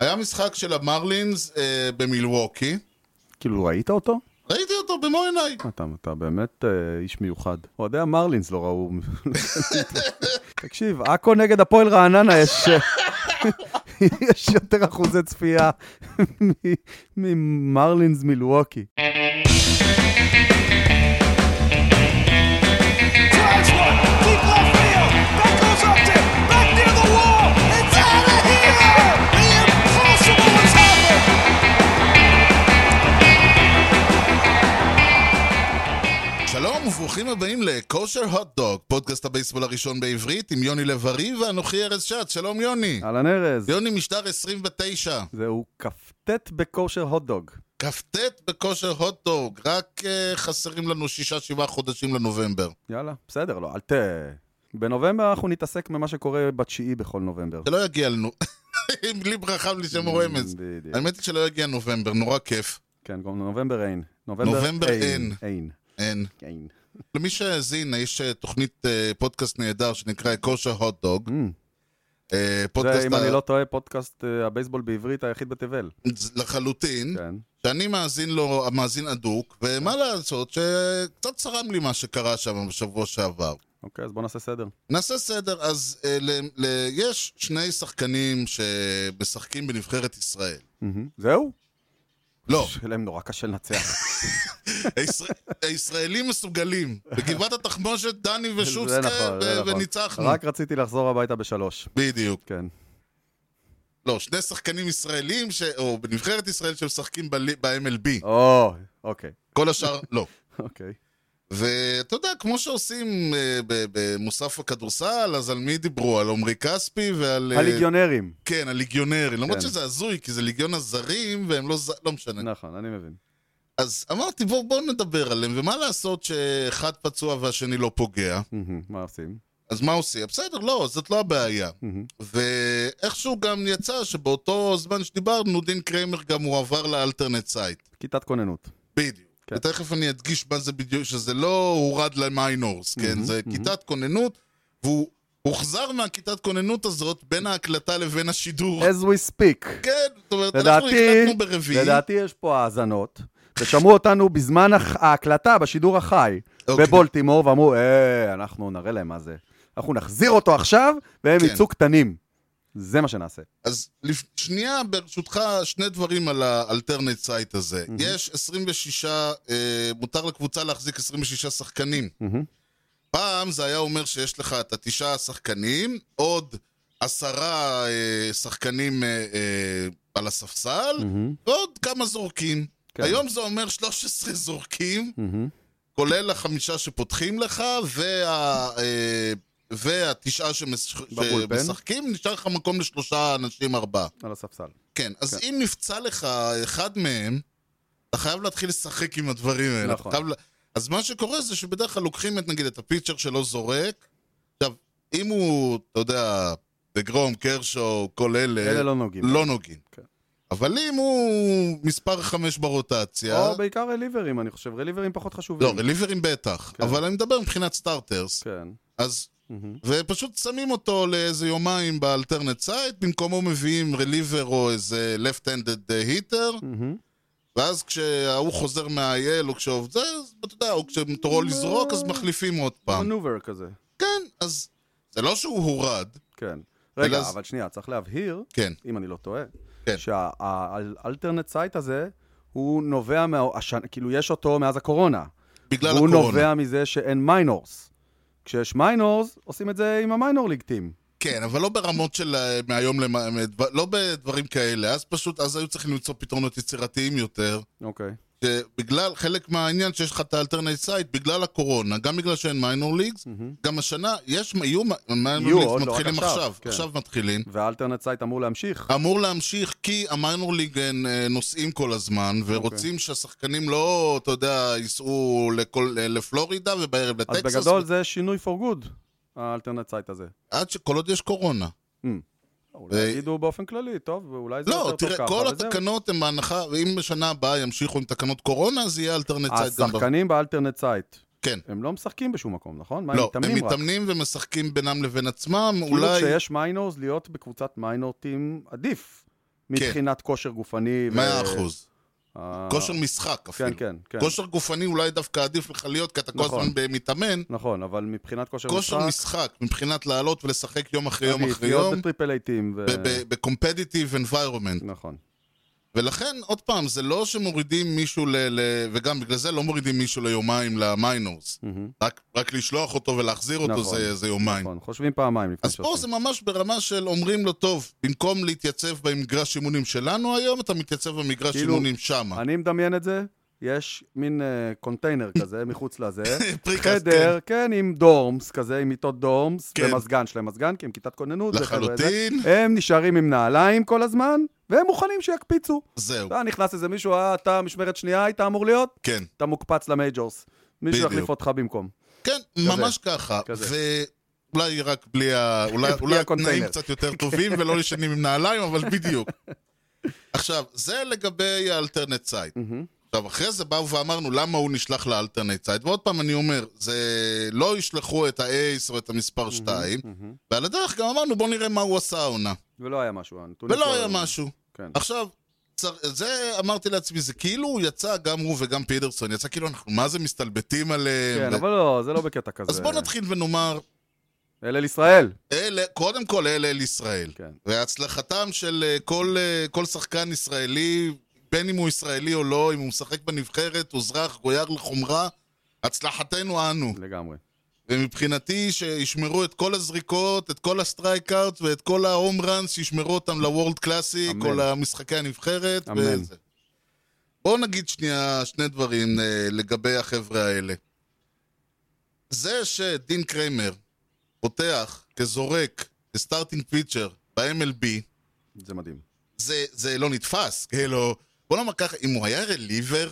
היה משחק של המרלינס אה, במילווקי, כאילו, ראית אותו? ראיתי אותו במו עיניי. אתה, אתה באמת אה, איש מיוחד. אוהדי המרלינס לא ראו... תקשיב, עכו נגד הפועל רעננה יש... אה, יש יותר אחוזי צפייה מ- ממרלינס מילווקי. Drives one. Deep left field. That goes up to back near the wall. It's out of here. The impossible has happened. שלום וברוכים הבאים לכושר הוטדוג, פודקאסט הבייסבול הראשון בעברית עם יוני לב-ארי ואנוכי ארז שץ. שלום יוני. אהלן ארז, יוני משטר 29, זהו כ"ט בכושר הוטדוג. כ"ט בכושר הוטדוג, רק אה, חסרים לנו שישה שבעה חודשים לנובמבר. יאללה, בסדר, לא, אל ת... בנובמבר אנחנו נתעסק במה שקורה בתשיעי בכל נובמבר. שלא יגיע לנו, עם בלי ברכה בלי שם רמז. בדיוק. האמת היא שלא יגיע נובמבר, נורא כיף. כן, גם נובמבר אין. נובמבר, נובמבר אין. אין. אין. אין. למי שהאזין, יש אה, תוכנית אה, פודקאסט נהדר שנקרא כושר הוטדוג. Mm. אה, פודקאסט זה, אם אני לא טועה, פודקאסט אה, הבייסבול בעברית היחיד בתבל. לחלוטין. כן. שאני מאזין לו, מאזין אדוק, ומה לעשות שקצת צרם לי מה שקרה שם בשבוע שעבר. אוקיי, אז בוא נעשה סדר. נעשה סדר, אז אה, ל, ל, יש שני שחקנים שמשחקים בנבחרת ישראל. זהו? לא, שיהיה להם נורא קשה לנצח. הישראל, הישראלים מסוגלים. בגבעת התחמושת דני זה ושוצקה, נכון, זה ו- נכון. וניצחנו. רק רציתי לחזור הביתה בשלוש. בדיוק. כן. לא, שני שחקנים ישראלים, ש... או בנבחרת ישראל שמשחקים ב- ב-MLB. או, אוקיי. כל השאר, לא. אוקיי. ואתה יודע, כמו שעושים אה, ב- במוסף הכדורסל, אז על מי דיברו? על עמרי כספי ועל... אה, הליגיונרים. כן, על ליגיונרים. למרות כן. שזה הזוי, כי זה ליגיון הזרים, והם לא... ז- לא משנה. נכון, אני מבין. אז אמרתי, בואו בוא נדבר עליהם, ומה לעשות שאחד פצוע והשני לא פוגע? מהמם, מה עושים? אז מה עושים? בסדר, לא, זאת לא הבעיה. מהמם. ואיכשהו גם יצא שבאותו זמן שדיברנו, דין קריימר גם הועבר לאלטרנט סייט. כיתת כוננות. בדיוק. כן. כן. ותכף אני אדגיש מה זה בדיוק, שזה לא הורד למיינורס, כן? זה כיתת כוננות, והוא הוחזר מהכיתת כוננות הזאת בין ההקלטה לבין השידור. as we speak. כן, זאת אומרת, אנחנו לדעתי, הקלטנו ברביעי. לדעתי יש פה האזנות, ושמעו אותנו בזמן הח- ההקלטה בשידור החי אוקיי. בבולטימור, ואמרו, אה, אנחנו נראה להם מה זה. אנחנו נחזיר אותו עכשיו, והם כן. יצאו קטנים. זה מה שנעשה. אז לפ... שנייה, ברשותך, שני דברים על האלטרנט סייט הזה. יש 26, אה, מותר לקבוצה להחזיק 26 שחקנים. מהמם. פעם זה היה אומר שיש לך את התשעה שחקנים, עוד עשרה אה, שחקנים אה, אה, על הספסל, מהמם. ועוד כמה זורקים. כן. היום זה אומר 13 זורקים, מהמם. כולל החמישה שפותחים לך, וה... אה, והתשעה שמש... בבולפן. שמשחקים, נשאר לך מקום לשלושה אנשים ארבעה. על הספסל. כן, אז כן. אם נפצע לך אחד מהם, אתה חייב להתחיל לשחק עם הדברים האלה. נכון. נכון. חייב... ל- אז מה שקורה זה שבדרך כלל לוקחים את, נגיד, את הפיצ'ר שלא זורק. עכשיו, אם הוא, אתה יודע, דגרום, קרשו, כל אלה, אלה לא נוגעים. לא נוגעים. כן. אבל אם הוא מספר חמש ברוטציה... או בעיקר רליברים, אני חושב. רליברים פחות חשובים. לא, רליברים בטח. כן. אבל אני מדבר מבחינת סטארטרס. כן. אז... מהמם. ופשוט שמים אותו לאיזה יומיים באלטרנט סייט, במקומו מביאים רליבר או איזה left-handed היטר, מהמם. ואז כשהוא חוזר מהאייל, או כשעובד זה, אז אתה יודע, או כשתורו לזרוק, אז מחליפים עוד פעם. מנובר כזה. כן, אז זה לא שהוא הורד, כן. רגע, אז- אבל שנייה, צריך להבהיר כן, אם אני לא טועה, כן. שהאלטרנט סייט הזה, הוא נובע מה... השנ... כאילו, יש אותו מאז הקורונה. בגלל הוא הקורונה. נובע מזה שאין מיינורס. כשיש מיינורס, עושים את זה עם המיינור ליג טים. כן, אבל לא ברמות של אה, מהיום למ... מדבר- לא בדברים כאלה. אז פשוט, אז היו צריכים למצוא פתרונות יצירתיים יותר. אוקיי. שבגלל, חלק מהעניין שיש לך את האלטרנט סייט, בגלל הקורונה, גם בגלל שאין מיינור ליגס, גם השנה, יש, יהיו מ- יהיו, מיינור עוד ליגס לא, רק מתחילים עכשיו, עכשיו, כן. עכשיו מתחילים. והאלטרנט סייט אמור להמשיך. אמור להמשיך כי המיינור ליג הם אה, נוסעים כל הזמן, אוקיי. ורוצים שהשחקנים לא, אתה יודע, ייסעו לכל, אה, לפלורידה ובערב אז לטקסס. בגדול זה שינוי for good, האלטרנט סייט הזה. עד שכל עוד יש קורונה. אולי אה, יגידו באופן כללי, טוב, אולי זה לא, יותר טוב תראה, ככה. כל וזהו. התקנות הן בהנחה, ואם בשנה הבאה ימשיכו עם תקנות קורונה, אז יהיה אלטרנט סייד גם ב... השחקנים באלטרנט סייט, כן. הם לא משחקים בשום מקום, נכון? מה, לא, הם רק? כאילו מתאמנים ומשחקים בינם לבין עצמם, אולי... אולי... כאילו כשיש מיינורס, להיות בקבוצת מיינור טים עדיף. מבחינת כושר גופני. ו- 100 כן. אחוז. אה, כושר משחק אפילו. כן, כן, כן. כושר גופני אולי דווקא עדיף לך להיות, כי אתה כל נכון. הזמן מתאמן. נכון, אבל מבחינת כושר משחק... כושר משחק, מבחינת לעלות ולשחק יום אחרי יום עדיף אחרי להיות יום, בטריפל אייטים. ו- ב-competitive environment. נכון. ולכן, עוד פעם, זה לא שמורידים מישהו ל... ל- וגם בגלל זה לא מורידים מישהו ליומיים למיינורס. מהמם. רק- רק לשלוח אותו ולהחזיר אותו נכון. זה- זה יומיים. נכון, חושבים פעמיים לפני אז פה זה ממש ברמה של אומרים לו, טוב, במקום להתייצב במגרש אימונים שלנו היום, אתה מתייצב במגרש כאילו, אימונים שמה. אני מדמיין את זה, יש מין אה, קונטיינר כזה מחוץ לזה. פריקסט, חדר, כן, עם דורמס כזה, עם מיטות דורמס, כן. ומזגן שלהם מזגן, כי הם כיתת כוננות. כן, וחבר'ה זה. לחלוטין, הם נשארים עם נעליים כל הזמן, והם מוכנים שיקפיצו. זהו, אתה נכנס איזה מישהו, אה, אתה משמרת שנייה היית אמור להיות, כן. אתה מוקפץ למייג'ורס. מישהו בדיוק. יחליף אותך במקום. כן, ממש ככה. כזה. ואולי רק בלי ה... אולי, בלי אולי הקונטיינר. התנאים קצת יותר טובים ולא ישנים עם נעליים, אבל בדיוק. עכשיו, זה לגבי האלטרנט סייד. מהמם. עכשיו, אחרי זה באו ואמרנו למה הוא נשלח לאלטרנט סייד. ועוד פעם אני אומר, זה לא ישלחו את האייס או את המספר 2, מהמם. ועל הדרך גם אמרנו בוא נראה מה הוא עשה העונה. ולא היה משהו, הנתונים ולא פה- היה משהו. כן. עכשיו, צר- זה אמרתי לעצמי, זה כאילו הוא יצא, גם הוא וגם פידרסון, יצא כאילו אנחנו מה זה מסתלבטים עליהם. כן, ו- אבל לא, זה לא בקטע כזה. אז בוא נתחיל ונאמר, אלה לישראל. אלה, קודם כל אלה אל ישראל. כן. והצלחתם של אה, כל, אה, כל שחקן ישראלי, בין אם הוא ישראלי או לא, אם הוא משחק בנבחרת, אוזרח, גויר לחומרה, הצלחתנו אנו. לגמרי. ומבחינתי שישמרו את כל הזריקות, את כל הסטרייקאוט ואת כל ההום ראנס, שישמרו אותם לוורלד קלאסי, אמן. כל המשחקי הנבחרת. אמן. וזה. בואו נגיד שנייה שני דברים אה, לגבי החבר'ה האלה. זה שדין קריימר פותח כזורק, כסטארטינג פיצ'ר ב-MLB, זה מדהים. זה, זה לא נתפס, כאילו, בוא נאמר ככה, אם הוא היה רליבר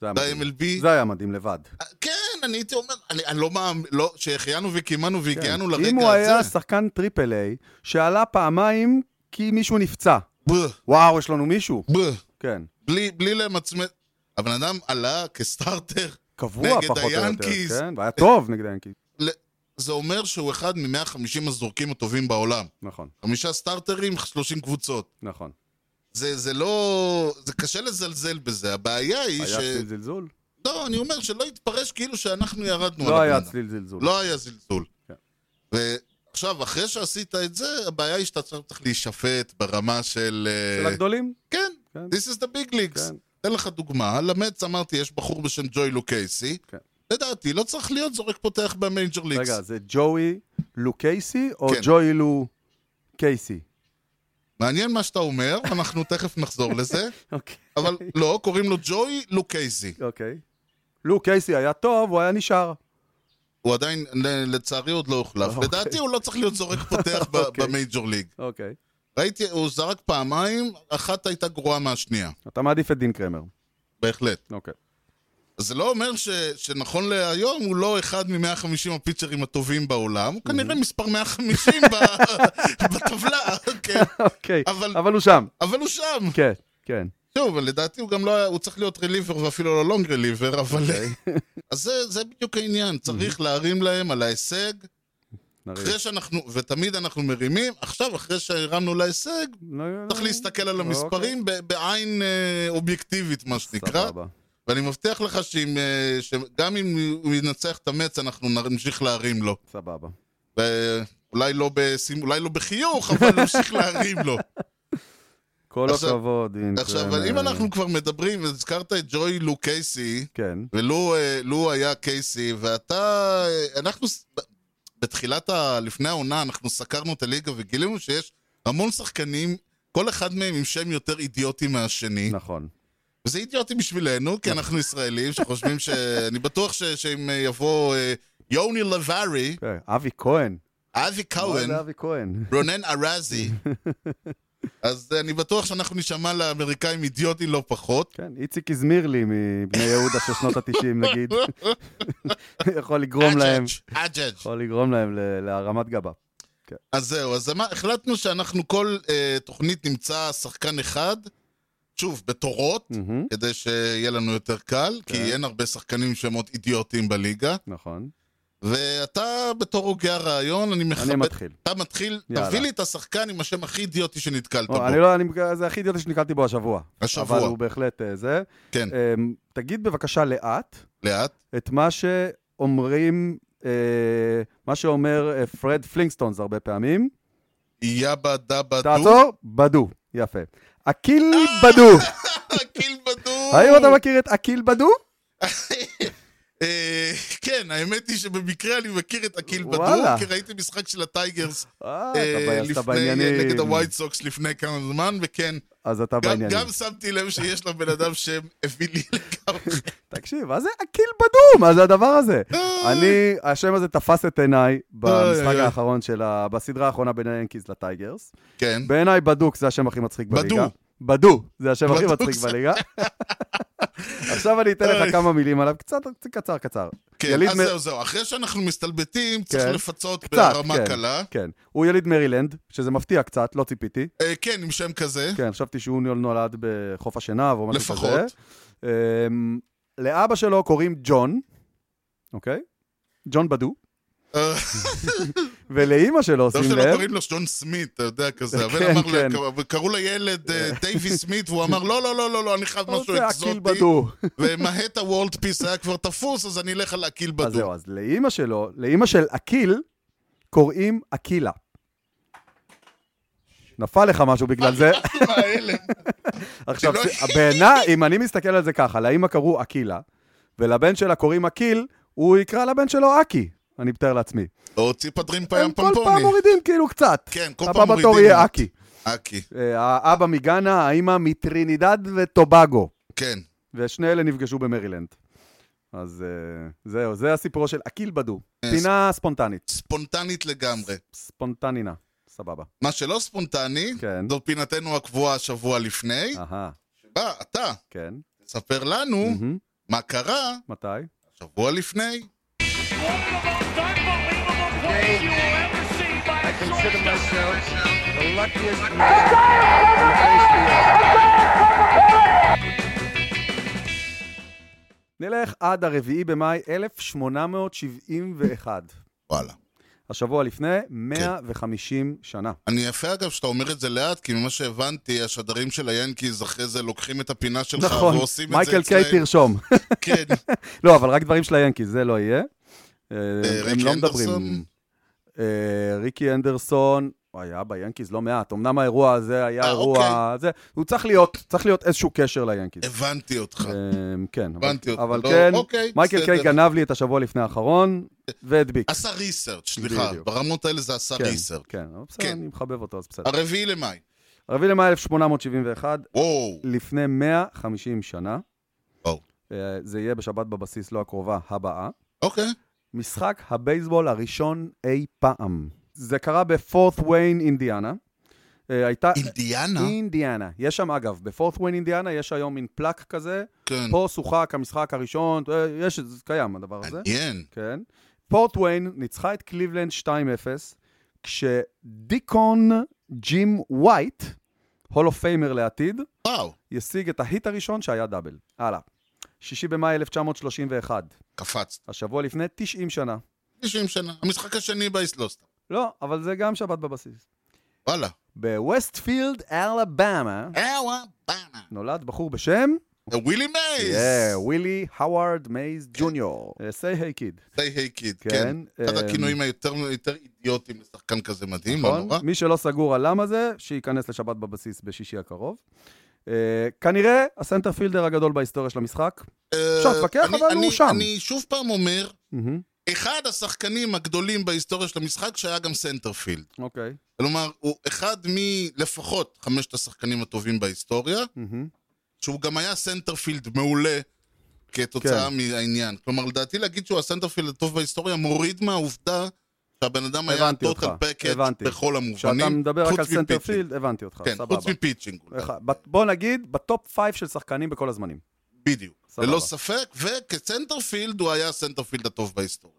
זה היה מדהים. ב-MLB, זה היה מדהים לבד. כן, אני הייתי אומר, אני, אני לא מאמין, לא, שהחיינו וקיימנו והגיענו לרגע הזה. כן. אם הוא היה שחקן טריפל איי, שעלה פעמיים כי מישהו נפצע. ב- וואו, יש לנו מישהו. ב- כן. בלי, בלי למצמץ. הבן אדם עלה כסטארטר, קבוע נגד פחות או יותר. היאנקיז. כן, והיה טוב נגד היאנקיז. זה אומר שהוא אחד מ-150 הזורקים הטובים בעולם. נכון, חמישה סטארטרים, 30 קבוצות. נכון. זה, זה לא... זה קשה לזלזל בזה. הבעיה היא ש... היה צליל זלזול? לא, אני אומר שלא יתפרש כאילו שאנחנו ירדנו לא על הבן היה אדם. צליל זלזול. לא היה זלזול. כן. ועכשיו, אחרי שעשית את זה, הבעיה היא שאתה צריך צריך להישפט ברמה של... של אה, הגדולים? כן, כן. This is the big leagues. כן. אתן לך דוגמה, למץ אמרתי, יש בחור בשם ג'וי לוקייסי. כן. לדעתי, לא צריך להיות זורק פותח במייג'ר ליקס. רגע, זה ג'וי לו קייסי או כן. ג'וי לו קייסי? מעניין מה שאתה אומר, אנחנו תכף נחזור לזה, אוקיי. אבל לא, קוראים לו ג'וי לוקייסי. אוקיי. לו קייסי היה טוב, הוא היה נשאר. הוא עדיין, ל- לצערי, עוד לא הוחלף. אוקיי. לדעתי, הוא לא צריך להיות זורק פותח ב- אוקיי. במייג'ר ליג. אוקיי. ראיתי, הוא זרק פעמיים, אחת הייתה גרועה מהשנייה. אתה מעדיף את דין קרמר. בהחלט. אוקיי. אז זה לא אומר ש, שנכון להיום הוא לא אחד מ-150 הפיצ'רים הטובים בעולם, הוא כנראה מספר 150 ב- בטבלה, כן. אוקיי. אבל- אבל הוא שם. אבל הוא שם. כן, כן. שוב, לדעתי הוא גם לא היה, הוא צריך להיות רליבר ואפילו לא לונג רליבר, אבל... אז זה, זה בדיוק העניין, צריך להרים להם על ההישג, נריב. אחרי שאנחנו, ותמיד אנחנו מרימים, עכשיו, אחרי שהרמנו להישג, לא, לא, צריך לא. להסתכל על המספרים ב- בעין אה, אובייקטיבית, מה שנקרא. סבבה. ואני מבטיח לך שאם, אה, שגם אם הוא ינצח את המץ, אנחנו נמשיך להרים לו. סבבה. ואולי לא, בשימ... אולי לא בחיוך, אבל נמשיך להרים לו. כל עכשיו- הכבוד, כן, אה, דין עכשיו, קרמר. אם אנחנו כבר מדברים, הזכרת את ג'וי לו קייסי, כן. ולו אה, לו היה קייסי, ואתה... אה, אנחנו... ס- בתחילת ה... לפני העונה, אנחנו סקרנו את הליגה וגילינו שיש המון שחקנים, כל אחד מהם עם שם יותר אידיוטי מהשני. נכון. וזה אידיוטי בשבילנו, כי אנחנו ישראלים שחושבים ש... אני בטוח ש... שאם אה, יבוא אה, יוני לב-ארי, כן, אבי כהן. אבי כהן, מה זה אבי כהן. רונן ארזי, אז אה, אני בטוח שאנחנו נשמע לאמריקאים אידיוטי לא פחות. כן, איציק הזמירלי מבני יהודה של שנות התשעים, נגיד. יכול לגרום אה, להם, כן. נכון. אג'אג'. יכול לגרום להם ל- להרמת גבה. אז זהו, אז אמר- החלטנו שאנחנו כל אה, תוכנית נמצא שחקן אחד, שוב, בתורות, מהמם, כדי שיהיה לנו יותר קל, כי Mm. כן. אין הרבה שחקנים שמות אידיוטים בליגה. נכון. ואתה בתור הוגה הרעיון, אני מכבד... אני מתחיל. אתה מתחיל, יאללה. תביא לי את השחקן עם השם הכי אידיוטי שנתקלת או, בו. אני לא, אני, זה הכי אידיוטי שנתקלתי בו השבוע. השבוע. אבל הוא בהחלט אה, זה. כן, אמ, תגיד בבקשה לאט לאט. את מה שאומרים, אה, מה שאומר אה, פרד פלינגסטונס הרבה פעמים. יאבה דאבה דו. תעצור, בדו. יפה. אקיל אה, בדו. קיל בדו. האם אתה מכיר את אקיל בדו? אה, כן, האמת היא שבמקרה אני מכיר את אקיל בדו, וואלה. כי ראיתי משחק של הטייגרס אה, אה, אתה ב- אז אתה לפני, בעניינים. נגד הווייט סוקס לפני כמה זמן, וכן, אז אתה גם- בעניינים. גם שמתי לב שיש לבן אדם שם הביא לי לגמרי. תקשיב, מה זה אקיל בדו? מה זה הדבר הזה? אה. אני, השם הזה תפס את עיניי במשחק איי. האחרון של ה... בסדרה האחרונה בין היאנקיז לטייגרס. כן, בעיניי בדוק זה השם הכי מצחיק בדו. בליגה. בדו. זה השם הכי בדוק מצחיק זה- בליגה. עכשיו אני אתן לך איי. כמה מילים עליו, קצת קצת קצר קצר. כן, יליד אז מ- זהו, זהו. אחרי שאנחנו מסתלבטים, צריך כן. לפצות קצת, ברמה כן. קלה. כן. הוא יליד מרילנד, שזה מפתיע קצת, לא ציפיתי. אה, כן, עם שם כזה. כן, חשבתי שהוא נולד בחוף השנהב או משהו לפחות. כזה. אמ, לאבא שלו קוראים ג'ון, אוקיי? ג'ון בדו. כן. אה, ולאימא שלו, טוב שים לא שלא לב, קוראים לו שון סמית, אתה יודע, כזה. כן, הבן אמר, כן. ל- וקראו לילד אה, דייוויס סמית, והוא אמר, לא, לא, לא, לא, לא, אני חייב הוא משהו רוצה אקיל אקזוטי. בדו. ומהט הוולד פיס היה כבר תפוס, אז אני אלך על אקיל אז בדו. זהו, אז לאימא שלו, לאימא של אקיל, קוראים אקילה. נפל לך משהו בגלל זה. מה האלה? עכשיו, זה לא- בעיניי, אם אני מסתכל על זה ככה, לאימא קראו אקילה, ולבן שלה קוראים אקיל, הוא יקרא לבן שלו אקי, אני מתאר לעצמי. או ציפה דרים הם פיום כל פעם פמפוני. מורידים כאילו קצת. כן, כל הבא פעם בתור מורידים. יהיה אקי. אקי, אה, האבא מגאנה, האימא מטרינידד וטובגו. כן. ושני אלה נפגשו במרילנד. אז אה, זהו, זה הסיפורו של אקיל בדו. אה, פינה ספונטנית. ספונטנית לגמרי. ספונטנינה. סבבה. מה שלא ספונטני, כן. זו פינתנו הקבועה השבוע לפני. אהה, בא, אתה, כן. תספר לנו מהמם. מה קרה מתי? שבוע לפני. One of the most unbelievable plays you will ever see by a consider shortstop. myself the luckiest man in the face of the earth. נלך עד הרביעי במאי 1871. וואלה. השבוע לפני כן. 150 שנה. אני יפה אגב שאתה אומר את זה לאט, כי ממה שהבנתי, השדרים של היאנקיז אחרי זה לוקחים את הפינה שלך נכון, ועושים את זה מייקל קיי תרשום. כן, לא, אבל רק דברים של היאנקיז, זה לא יהיה. אה, הם ריקי לא אנדרסון? מדברים. אה, ריקי אנדרסון, הוא היה ביאנקיז לא מעט, אמנם האירוע הזה היה אה, אירוע... זה, הוא צריך להיות, צריך להיות איזשהו קשר ליאנקיז. הבנתי אותך. אה, כן, אבל- הבנתי אותך. אבל לא, כן, אוקיי, מייקל קיי בסדר. אה, גנב לי את השבוע לפני האחרון, והדביק. עשה ריסרצ', סליחה, בדיוק. ברמות האלה זה עשה כן, אה, ריסרצ'. כן, אבל בסדר, כן. אני מחבב אותו, אז בסדר. הרביעי למאי. 4 למאי 1871, וואו, לפני 150 שנה. וואו. אה, זה יהיה בשבת בבסיס, לא הקרובה, הבאה. אוקיי. משחק הבייסבול הראשון אי פעם. זה קרה בפורט וויין, אינדיאנה. אה, הייתה... אינדיאנה? Mm, אינדיאנה. יש שם, אגב, בפורט וויין, אינדיאנה, יש היום מין פלאק כזה. כן. פה שוחק המשחק הראשון, אה, יש, זה קיים הדבר הזה. מעניין. כן. פורט וויין ניצחה את קליבלנד 2-0, כשדיקון ג'ים ווייט, הול אוף פיימר לעתיד, וואו, ישיג את ההיט הראשון שהיה דאבל. הלאה. 6 במאי 1931, קפצת. השבוע לפני 90 שנה. 90 שנה. המשחק השני באיסלוסטה. לא, אבל זה גם שבת בבסיס. וואלה. בווסטפילד, אלבמה, אוואבאנה. נולד בחור בשם... ווילי מייז! אה, ווילי הווארד מייז ג'וניור. סיי היי קיד. די היי קיד, כן, כן. אחד אמ, הכינויים היותר יותר אידיוטיים לשחקן כזה מדהים, לא נכון? נורא. מי שלא סגור על למה זה, שייכנס לשבת בבסיס בשישי הקרוב. אה, כנראה הסנטרפילדר הגדול בהיסטוריה של המשחק. אה, אפשר להתווכח, אני- אבל הוא אני- שם. אני שוב פעם אומר, מהמם, אחד השחקנים הגדולים בהיסטוריה של המשחק שהיה גם סנטרפילד. אוקיי. כלומר, הוא אחד מלפחות חמשת השחקנים הטובים בהיסטוריה, מהמם. שהוא גם היה סנטרפילד מעולה כתוצאה כן. מהעניין. כלומר, לדעתי להגיד שהוא הסנטרפילד הטוב בהיסטוריה מוריד מהעובדה שהבן אדם היה הבנתי אותך, טוטל פקט הבנתי. בכל כשאתה המובנים, מדבר רק על חוץ מפיצ'ינג. סנטרפילד, הבנתי אותך, כן, סבבה. חוץ מפיצ'ינג. אולי. אחד- ב- בוא נגיד, בטופ פייב של שחקנים בכל הזמנים. בדיוק. סבבה. ללא ספק, וכסנטרפילד הוא היה הסנטרפילד הטוב בהיסטוריה.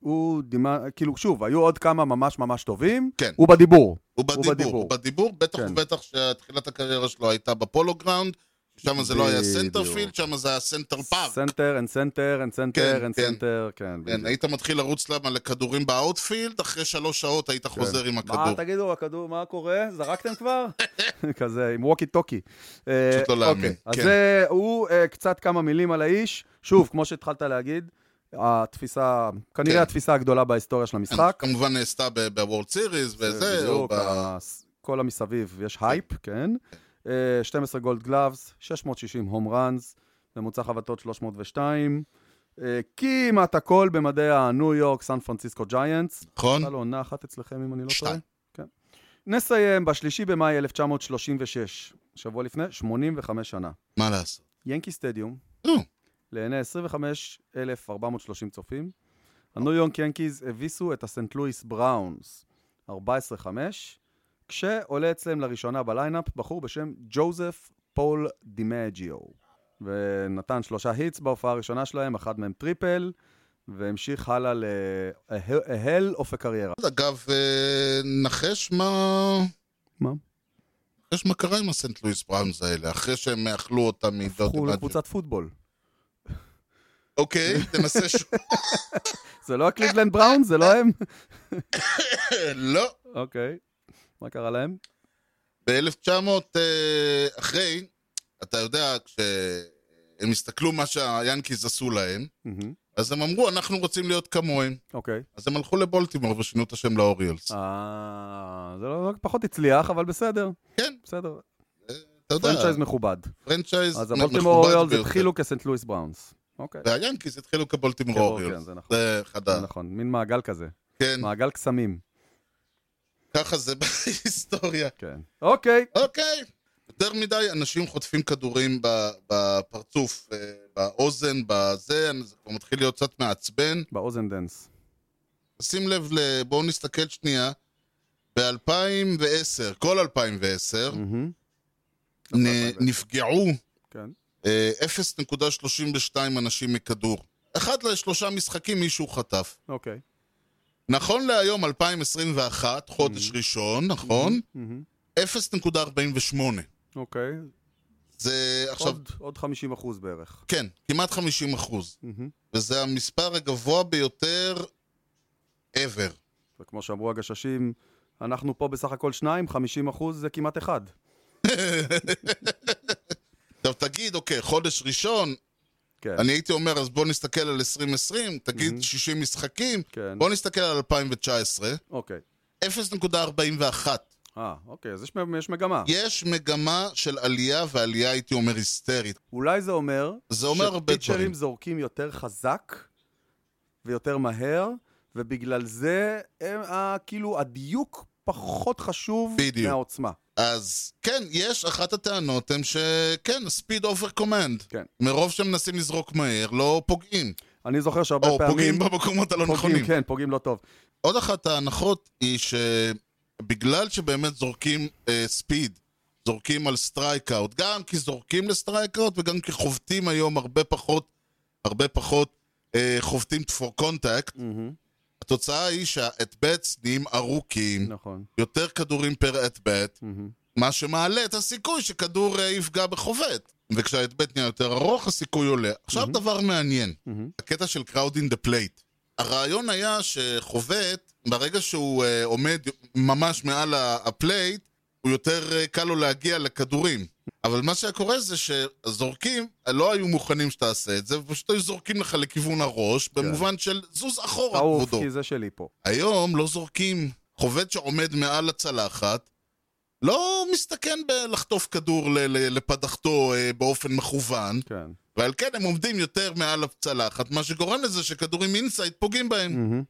הוא דימה, כאילו, שוב, היו עוד כמה ממש ממש טובים. כן. הוא בדיבור. הוא בדיבור, בדיבור. הוא בדיבור, בטח כן. ובטח שתחילת הקריירה שלו הייתה בפולו גראונד, שם זה לא היה בדיוק. סנטרפילד, שם זה היה סנטר פארק. סנטר, אין סנטר, אין סנטר, כן, אין כן. סנטר, כן. כן, היית מתחיל לרוץ למה לכדורים באאוטפילד, אחרי שלוש שעות היית חוזר עם כן. מה, הכדור. אה, תגידו, הכדור, מה קורה? זרקתם כבר? כזה, עם ווקי טוקי. פשוט לא להאמין, אז כן. זה, הוא אה, קצת כמה מילים על האיש. שוב, כמו שהתחלת להגיד, התפיסה, כן. כנראה התפיסה הגדולה בהיסטוריה של המשחק. כמובן נעשתה ב- בוורד סיריס וזה, או בדיוק, אה, ב... הס- כל המסביב, יש הייפ, כן. אה, 12 גולד גלאבס, 660 הום ראנס, ממוצע חבטות 302. אה, כמעט הכל במדעי הניו יורק, סן פרנסיסקו ג'יינטס. נכון? הייתה לו עונה אחת אצלכם, אם אני לא טועה. שתיים. כן. נסיים בשלישי במאי 1936, שבוע לפני 85 שנה. מה לעשות? ינקי סטדיום, נו, לעיני 25,430 צופים. הניו יורק ינקיז הביסו את הסנט לואיס בראונס, 14-5, כשעולה אצלם לראשונה בליינאפ בחור בשם ג'וזף פול דימג'יו, ונתן שלושה היטס בהופעה הראשונה שלהם, אחד מהם טריפל, והמשיך הלאה להל אוף הקריירה. אגב, אה, נחש מה... מה? נחש מה קרה עם הסנט לואיס בראונס האלה, אחרי שהם אכלו אותה מדוטי הפכו לקבוצת פוטבול. אוקיי, תנסה שוב. זה לא הקליבלנד בראון? זה לא הם? לא. אוקיי. מה קרה להם? ב-1900 אה, אחרי, אתה יודע, כשהם הסתכלו מה שהיאנקיז עשו להם, מהמם. אז הם אמרו, אנחנו רוצים להיות כמוהם. אוקיי. אז הם הלכו לבולטימור ושינו את השם לאוריולס. אה, זה לא, פחות הצליח, אבל בסדר. כן. בסדר. אתה יודע, פרנצ'ייז מכובד. פרנצ'ייז אז מ- הבולטימור מכובד אוריולס ביותר. התחילו כסנט לואיס בראונס. אוקיי. והיאנקיז התחילו כבולטימור כן, אוריולס. כן, זה נכון. זה אחד זה ה... נכון, מין מעגל כזה. כן, מעגל קסמים. ככה זה בהיסטוריה. כן. אוקיי. אוקיי. יותר מדי אנשים חוטפים כדורים ב- בפרצוף, אה, באוזן, בזה, זה כבר מתחיל להיות קצת מעצבן. באוזן דנס. שים לב, ל- בואו נסתכל שנייה. ב-2010, כל 2010, מהמם. נ- 2010. נפגעו כן. אה, 0.32 אנשים מכדור. אחד לשלושה משחקים מישהו חטף. אוקיי. נכון להיום, 2021, חודש ראשון, נכון? מהמם. 0.48. אוקיי. זה עכשיו, עוד- עוד 50 אחוז בערך. כן, כמעט 50 אחוז. מהמם. וזה המספר הגבוה ביותר ever. וכמו שאמרו הגששים, אנחנו פה בסך הכל שניים, 50 אחוז זה כמעט אחד. עכשיו תגיד, אוקיי, חודש ראשון, כן. אני הייתי אומר, אז בוא נסתכל על 2020, תגיד 60 משחקים, כן. בוא נסתכל על 2019, אוקיי. 0.41. אה, אוקיי, אז יש, מ- יש מגמה. יש מגמה של עלייה, ועלייה הייתי אומר היסטרית. אולי זה אומר... זה אומר הרבה דברים. שפיצ'רים זורקים יותר חזק ויותר מהר, ובגלל זה הם, אה, כאילו הדיוק פחות חשוב בדיוק. מהעוצמה. אז כן, יש, אחת הטענות הן שכן, speed over command. כן. מרוב שמנסים לזרוק מהר, לא פוגעים. אני זוכר שהרבה או פעמים... פוגעים במקומות הלא נכונים. פוגעים, כן, פוגעים לא טוב. עוד אחת ההנחות היא שבגלל שבאמת זורקים אה, ספיד, זורקים על סטרייקאוט, גם כי זורקים לסטרייקאוט וגם כי חובטים היום הרבה פחות, הרבה פחות אה, חובטים for contact, מהמם, התוצאה היא שהאטבטס נהיים ארוכים, נכון. יותר כדורים פר אטבט, מהמם. מה שמעלה את הסיכוי שכדור אה, יפגע בחובט. וכשהאטבט נהיה יותר ארוך, הסיכוי עולה. עכשיו דבר מעניין. מהמם. הקטע של crowd in the plate. הרעיון היה שחובט, ברגע שהוא uh, עומד ממש מעל ה- הפלייט, הוא יותר uh, קל לו להגיע לכדורים. אבל מה שהיה קורה זה שהזורקים אה, לא היו מוכנים שתעשה את זה, ופשוט היו זורקים לך לכיוון הראש, במובן של זוז אחורה, תעוף, לא כבודו. כן. כי זה שלי פה. היום לא זורקים. חובד שעומד מעל הצלחת, לא מסתכן בלחטוף כדור ל- ל- לפדחתו אה, באופן מכוון. כן. ועל כן הם עומדים יותר מעל הצלחת, מה שגורם לזה שכדורים אינסייד פוגעים בהם. מהמם.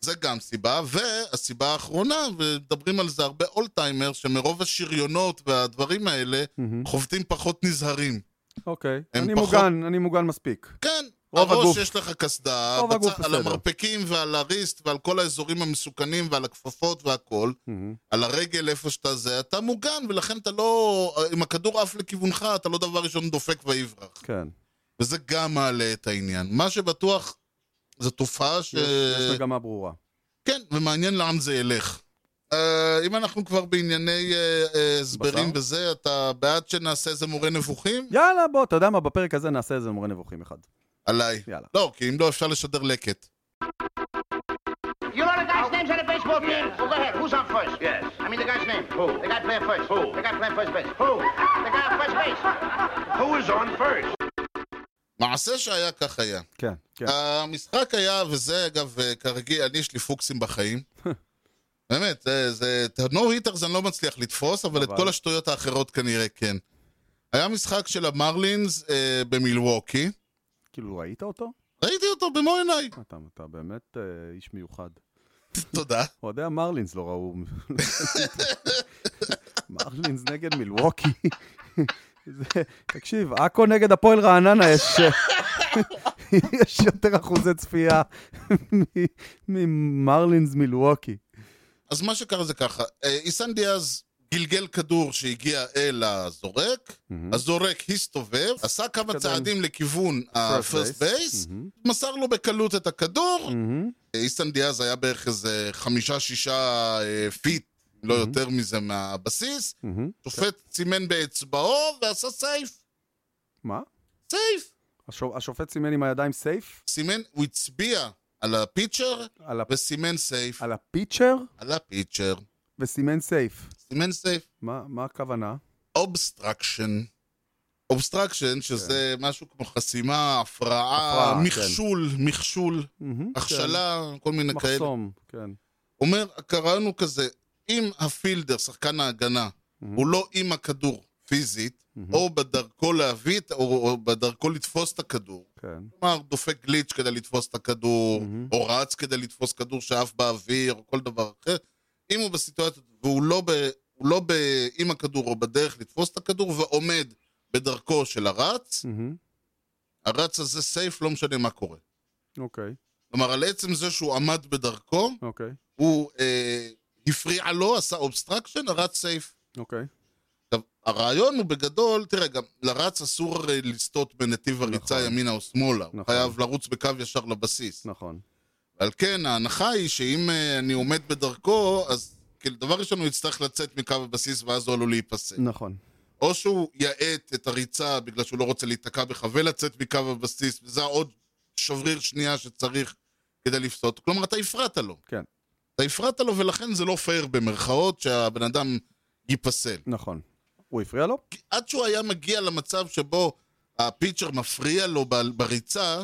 זה גם סיבה, והסיבה האחרונה, ומדברים על זה הרבה אולטיימר, שמרוב השריונות והדברים האלה, מהמם. חובטים פחות נזהרים. אוקיי. הם אני פחות- מוגן, אני מוגן מספיק. כן, רוב הראש הגוף. יש לך קסדה, רוב הגוף בצ... על בסדר. המרפקים ועל הריסט ועל כל האזורים המסוכנים ועל הכפפות והכל, מהמם. על הרגל איפה שאתה זה, אתה מוגן, ולכן אתה לא, אם הכדור עף לכיוונך, אתה לא דבר ראשון דופק ויברח. כן. וזה גם מעלה את העניין. מה שבטוח, זו תופעה ש... יש יש מגמה ברורה. כן, ומעניין לאן זה ילך. אה, אם אנחנו כבר בענייני אה, אה, הסברים בשר? וזה, אתה בעד שנעשה איזה מורה נבוכים? יאללה, בוא, אתה יודע מה, בפרק הזה נעשה איזה מורה נבוכים אחד. עליי. יאללה. לא, כי אם לא, אפשר לשדר לקט. You know the guy's names on the baseball team. Well, go ahead. Who's on first? Yes. I mean the guy's name. Who? The guy playing first. Who? The guy playing first base. Who? The guy on first base. Who is on first? מעשה שהיה כך היה. כן, כן. אה. המשחק היה, וזה אגב, אה, כרגיל, אני יש לי פוקסים בחיים. באמת, זה- זה... את ה-No-Hitters אני לא מצליח לתפוס, אבל את אבל? כל השטויות האחרות כנראה כן. היה משחק של המרלינס אה, במילווקי. כאילו, ראית אותו? ראיתי אותו במו עיניי. אתה, אתה באמת אה, איש מיוחד. תודה. אוהדי המרלינס לא ראו... מרלינס נגד מילווקי. זה, תקשיב, עכו נגד הפועל רעננה יש... יש יותר אחוזי צפייה מ- ממרלינס מילווקי. אז מה שקרה זה ככה, אה, איסן דיאז גלגל כדור שהגיע אל הזורק, מהמם. הזורק הסתובב, עשה כמה התקדם. צעדים לכיוון Mm-hmm. First ה-first base. Mm-hmm, base, מהמם. מסר לו בקלות את הכדור, מהמם. איסטן דיאז היה בערך איזה חמישה-שישה אה, פיט, לא Mm-hmm. יותר מזה, מהבסיס. מהמם. שופט סימן באצבעו ועשה סייף. מה? סייף. השו- השופט סימן עם הידיים סייף? סימן, הוא הצביע על הפיצ'ר על הפ- וסימן סייף. כן. על הפיצ'ר? על הפיצ'ר. וסימן סייף. סימן סייף. מה מה הכוונה? אובסטרקשן. אובסטרקשן, שזה משהו כמו חסימה, הפרעה, כן. הפרעה, מכשול, מכשול, מהמם. הכשלה, כל מיני Mm-hmm. כן. כאלה. מחסום, כן. אומר, הקרעיון הוא כזה, אם הפילדר, שחקן ההגנה, Mm-hmm. הוא לא עם הכדור פיזית, או בדרכו להביא, את- או, או בדרכו לתפוס את הכדור, כן. כלומר, דופק גליץ' כדי לתפוס את הכדור, או רץ כדי לתפוס כדור שעף באוויר, או כל דבר אחר, אם הוא בסיטואציה, והוא לא, ב, הוא לא ב, עם הכדור או בדרך לתפוס את הכדור, ועומד בדרכו של הרץ, מהמם. הרץ הזה סייף, לא משנה מה קורה. אוקיי, כלומר, על עצם זה שהוא עמד בדרכו, אוקיי, הוא אה, הפריע לו, עשה אובסטרקשן, הרץ סייף. אוקיי. עכשיו, הרעיון הוא בגדול, תראה, גם לרץ אסור הרי לסטות בנתיב הריצה נכון. ימינה או שמאלה. הוא נכון. חייב לרוץ בקו ישר לבסיס. נכון. על כן, ההנחה היא שאם אה, אני עומד בדרכו, אז כאילו, דבר ראשון, הוא יצטרך לצאת מקו הבסיס ואז הוא עלול להיפסק. נכון. או שהוא יאט את הריצה בגלל שהוא לא רוצה להיתקע בך ולצאת מקו הבסיס, וזה עוד שבריר שנייה שצריך כדי לפסות. כלומר, אתה הפרעת לו. כן. אתה הפרעת לו, ולכן זה לא פייר במרכאות שהבן אדם ייפסל. נכון. הוא הפריע לו? כי עד שהוא היה מגיע למצב שבו הפיצ'ר מפריע לו ב- בריצה,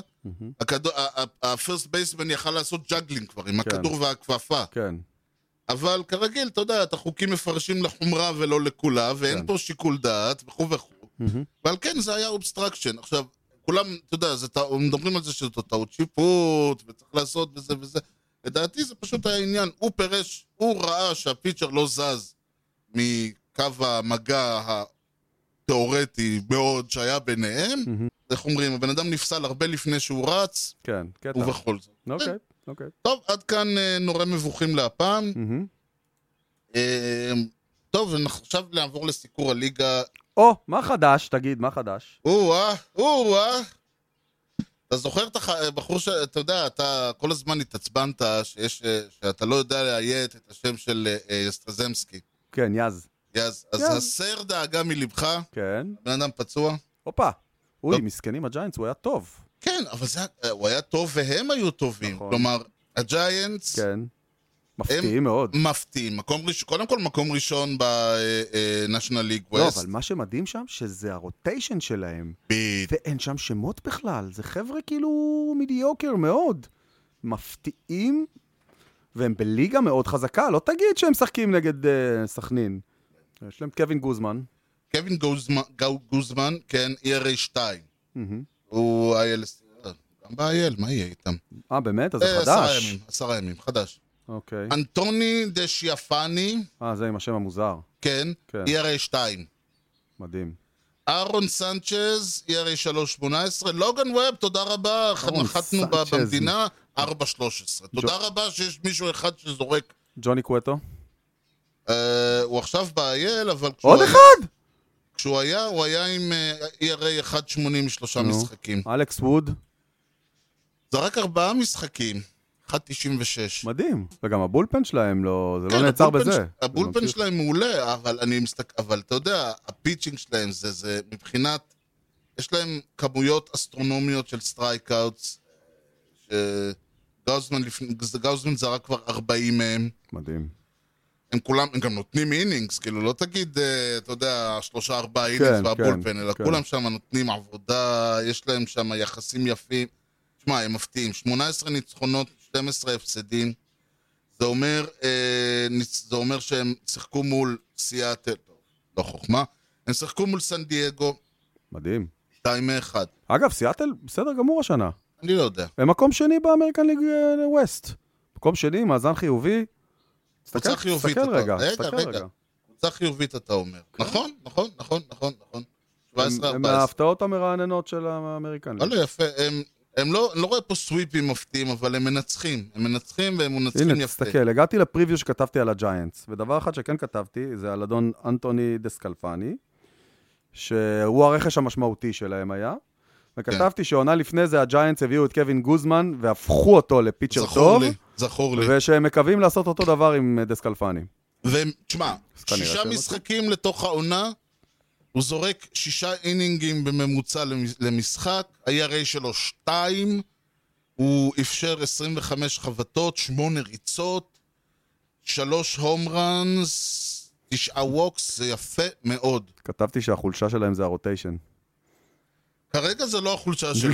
הכדור- ה- ה- הפרסט בייסמן יכל לעשות ג'אגלינג כבר עם כן. הכדור והכפפה. כן. אבל כרגיל, אתה יודע, את החוקים מפרשים לחומרה ולא לכולה, ואין כן. פה שיקול דעת וכו' וכו'. מהמם. ועל כן זה היה אובסטרקשן. עכשיו, כולם, אתה יודע, זה, טע- מדברים על זה שזו טעות שיפוט, וצריך לעשות וזה וזה. לדעתי זה פשוט היה עניין. הוא פירש, הוא ראה שהפיצ'ר לא זז מקו המגע התיאורטי מאוד שהיה ביניהם. מהמם. איך אומרים, הבן אדם נפסל הרבה לפני שהוא רץ, כן, קטע. ובכל זאת. אוקיי, אוקיי. טוב, עד כאן אה, נורא מבוכים להפעם. מהמם. אה, טוב, אנחנו עכשיו נעבור לסיקור הליגה. או, מה חדש? תגיד, מה חדש? או-אה, או-אה. אתה זוכר את הבחור ש... אתה יודע, אתה כל הזמן התעצבנת שיש, אה, שאתה לא יודע לאיית את השם של אה, אה, סטרזמסקי. כן, יז. אז, אז כן. הסר דאגה מלבך, כן. בן אדם פצוע. הופה. אוי, מסכנים הג'יינטס, הוא היה טוב. כן, אבל זה, היה- הוא היה טוב והם היו טובים. נכון. כלומר, הג'יינטס כן. מפתיעים מאוד. מפתיעים. מקום ראשון, קודם כל מקום ראשון אה, בנשנל ליג לא, ווסט. אבל מה שמדהים שם, שזה הרוטיישן שלהם. בדיוק. ואין שם שמות בכלל, זה חבר'ה כאילו מידיוקר מאוד. מפתיעים, והם בליגה מאוד חזקה, לא תגיד שהם משחקים נגד אה, סכנין. יש להם את קווין גוזמן. קווין גוזמן, גאו- גוזמן, כן, ERA 2. מהמם. הוא ILS... גם ב-IL, מה יהיה איתם? אה, באמת? אז זה אה, עשרה חדש. ימים, עשרה ימים, חדש. אוקיי. אנטוני דשיאפני, אה, זה עם השם המוזר. כן, כן. ERA 2. מדהים. אהרון סנצ'ז, E ERA 318. לוגן ווב, תודה רבה, אהרון נחתנו ב- סנצ'ז. במדינה, 413. תודה רבה שיש מישהו אחד שזורק. ג'וני קווטו. אה, הוא עכשיו ב-IL, אבל כשהוא עוד היה- אחד! כשהוא היה, הוא היה עם אה, ERA 1.80 משלושה נו. משחקים. אלכס ווד. זה רק ארבעה משחקים. 1.96. מדהים. וגם הבולפן שלהם לא... זה כן, לא נעצר הבולפן בזה. ש- הבולפן ממשיך. שלהם מעולה, אבל אני מסתכל... אבל אתה יודע, הפיצ'ינג שלהם זה, זה מבחינת... יש להם כמויות אסטרונומיות של סטרייקאוטס, שגאוזמן לפני... גאוזמן זרק כבר 40 מהם. מדהים. הם כולם, הם גם נותנים אינינגס, כאילו, לא תגיד, אה, אתה יודע, שלושה, ארבעה כן, אינינגס כן, והבולפן, אלא כן. כולם שם נותנים עבודה, יש להם שם יחסים יפים. שמע, הם מפתיעים. 18 ניצחונות, 12 הפסדים. זה אומר, אה, ניצ- זה אומר שהם שיחקו מול סיאטל, טוב, לא חוכמה, הם שיחקו מול סן דייגו, מדהים. 2-1. אגב, סיאטל בסדר גמור השנה. אני לא יודע. הם מקום שני באמריקן ליג אה, ווסט. מקום שני, מאזן חיובי. קבוצה חיובית. תסתכל אתה- רגע, רגע, תסתכל רגע. רגע. קבוצה חיובית אתה אומר. נכון, נכון, נכון, נכון, נכון. כן. הם- 17-14. הם ההפתעות המרעננות של האמריקן ליג. וואלה, לא, יפה. הם, הם לא, אני לא רואה פה סוויפים מפתיעים, אבל הם מנצחים. הם מנצחים והם מנצחים הנה, יפה. תסתכל, הגעתי לפריוויו שכתבתי על הג'יינטס, ודבר אחד שכן כתבתי זה על אדון אנטוני דסקלפני, שהוא הרכש המשמעותי שלהם היה, וכתבתי כן. שעונה לפני זה הג'יינטס הביאו את קווין גוזמן והפכו אותו לפיצ'ר זכור טוב, לי, זכור לי. ושהם מקווים לעשות אותו דבר עם אה, דסקלפני. והם, תשמע, כנראה שישה שהם משחקים לתוך העונה, הוא זורק שישה אינינגים בממוצע למ- למשחק, ה-ERA שלו שתיים, הוא אפשר 25 חבטות, שמונה ריצות, שלוש הום ראנס, תשעה ווקס, זה יפה מאוד. כתבתי שהחולשה שלהם זה הרוטיישן. כרגע זה לא החולשה שלהם.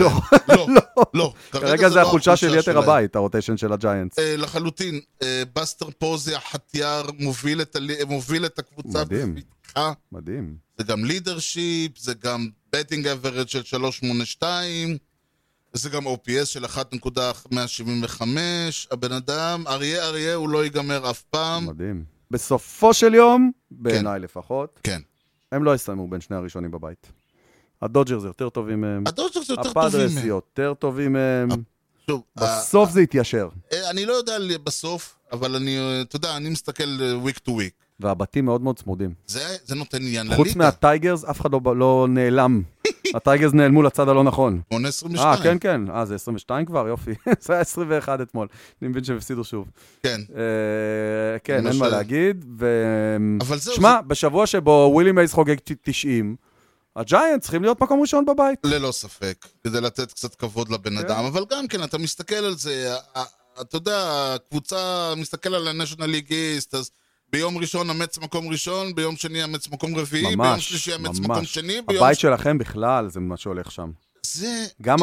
לא. לא, לא. כרגע זה לא החולשה של יתר שלהם. הבית, הרוטיישן של הג'יינטס. אה, לחלוטין. אה, בסטר פוזי, החטיאר, מוביל את, הלי- מוביל את הקבוצה. מדהים. בבטחה. מדהים. זה גם לידרשיפ, זה גם בטינג אברד של 382, זה גם OPS של 1.175. הבן אדם, אריה אריה, הוא לא ייגמר אף פעם. מדהים. בסופו של יום, בעיניי לפחות, כן. הם לא יסיימו בין שני הראשונים בבית. הדודג'רס יותר טובים מהם, הדודג'רס יותר טובים הפאדרס מהם. יותר טובים מהם, שוב, ה- בסוף זה יתיישר. אה, אני לא יודע ל- בסוף, אבל אני, אה, אתה יודע, אני מסתכל אה, week to week. והבתים מאוד מאוד צמודים. זה זה נותן עניין חוץ לליגה. מהטייגרס, אף אחד לא ב- לא נעלם. הטייגרס נעלמו לצד הלא נכון. 18-22. אה, כן, כן. אה, זה 22 כבר? יופי. זה היה 21 אתמול. אני מבין שהם הפסידו שוב. כן. אה, כן, אין למשל. מה להגיד. ו... אבל זהו, שמע, בשבוע שבו ווילי מייז חוגג 90, הג'יינט צריכים להיות מקום ראשון בבית. ללא ספק, כדי לתת קצת כבוד לבן אדם, אבל גם כן, אתה מסתכל על זה, ה- ה- אתה יודע, הקבוצה, מסתכל על ה-National League East, אז ביום ראשון אמץ מקום ראשון, ביום שני אמץ מקום רביעי, ביום ממש, שלישי אמץ מקום ממש. שני, ביום... הבית שלכם בכלל, זה מה שהולך שם. זה... גם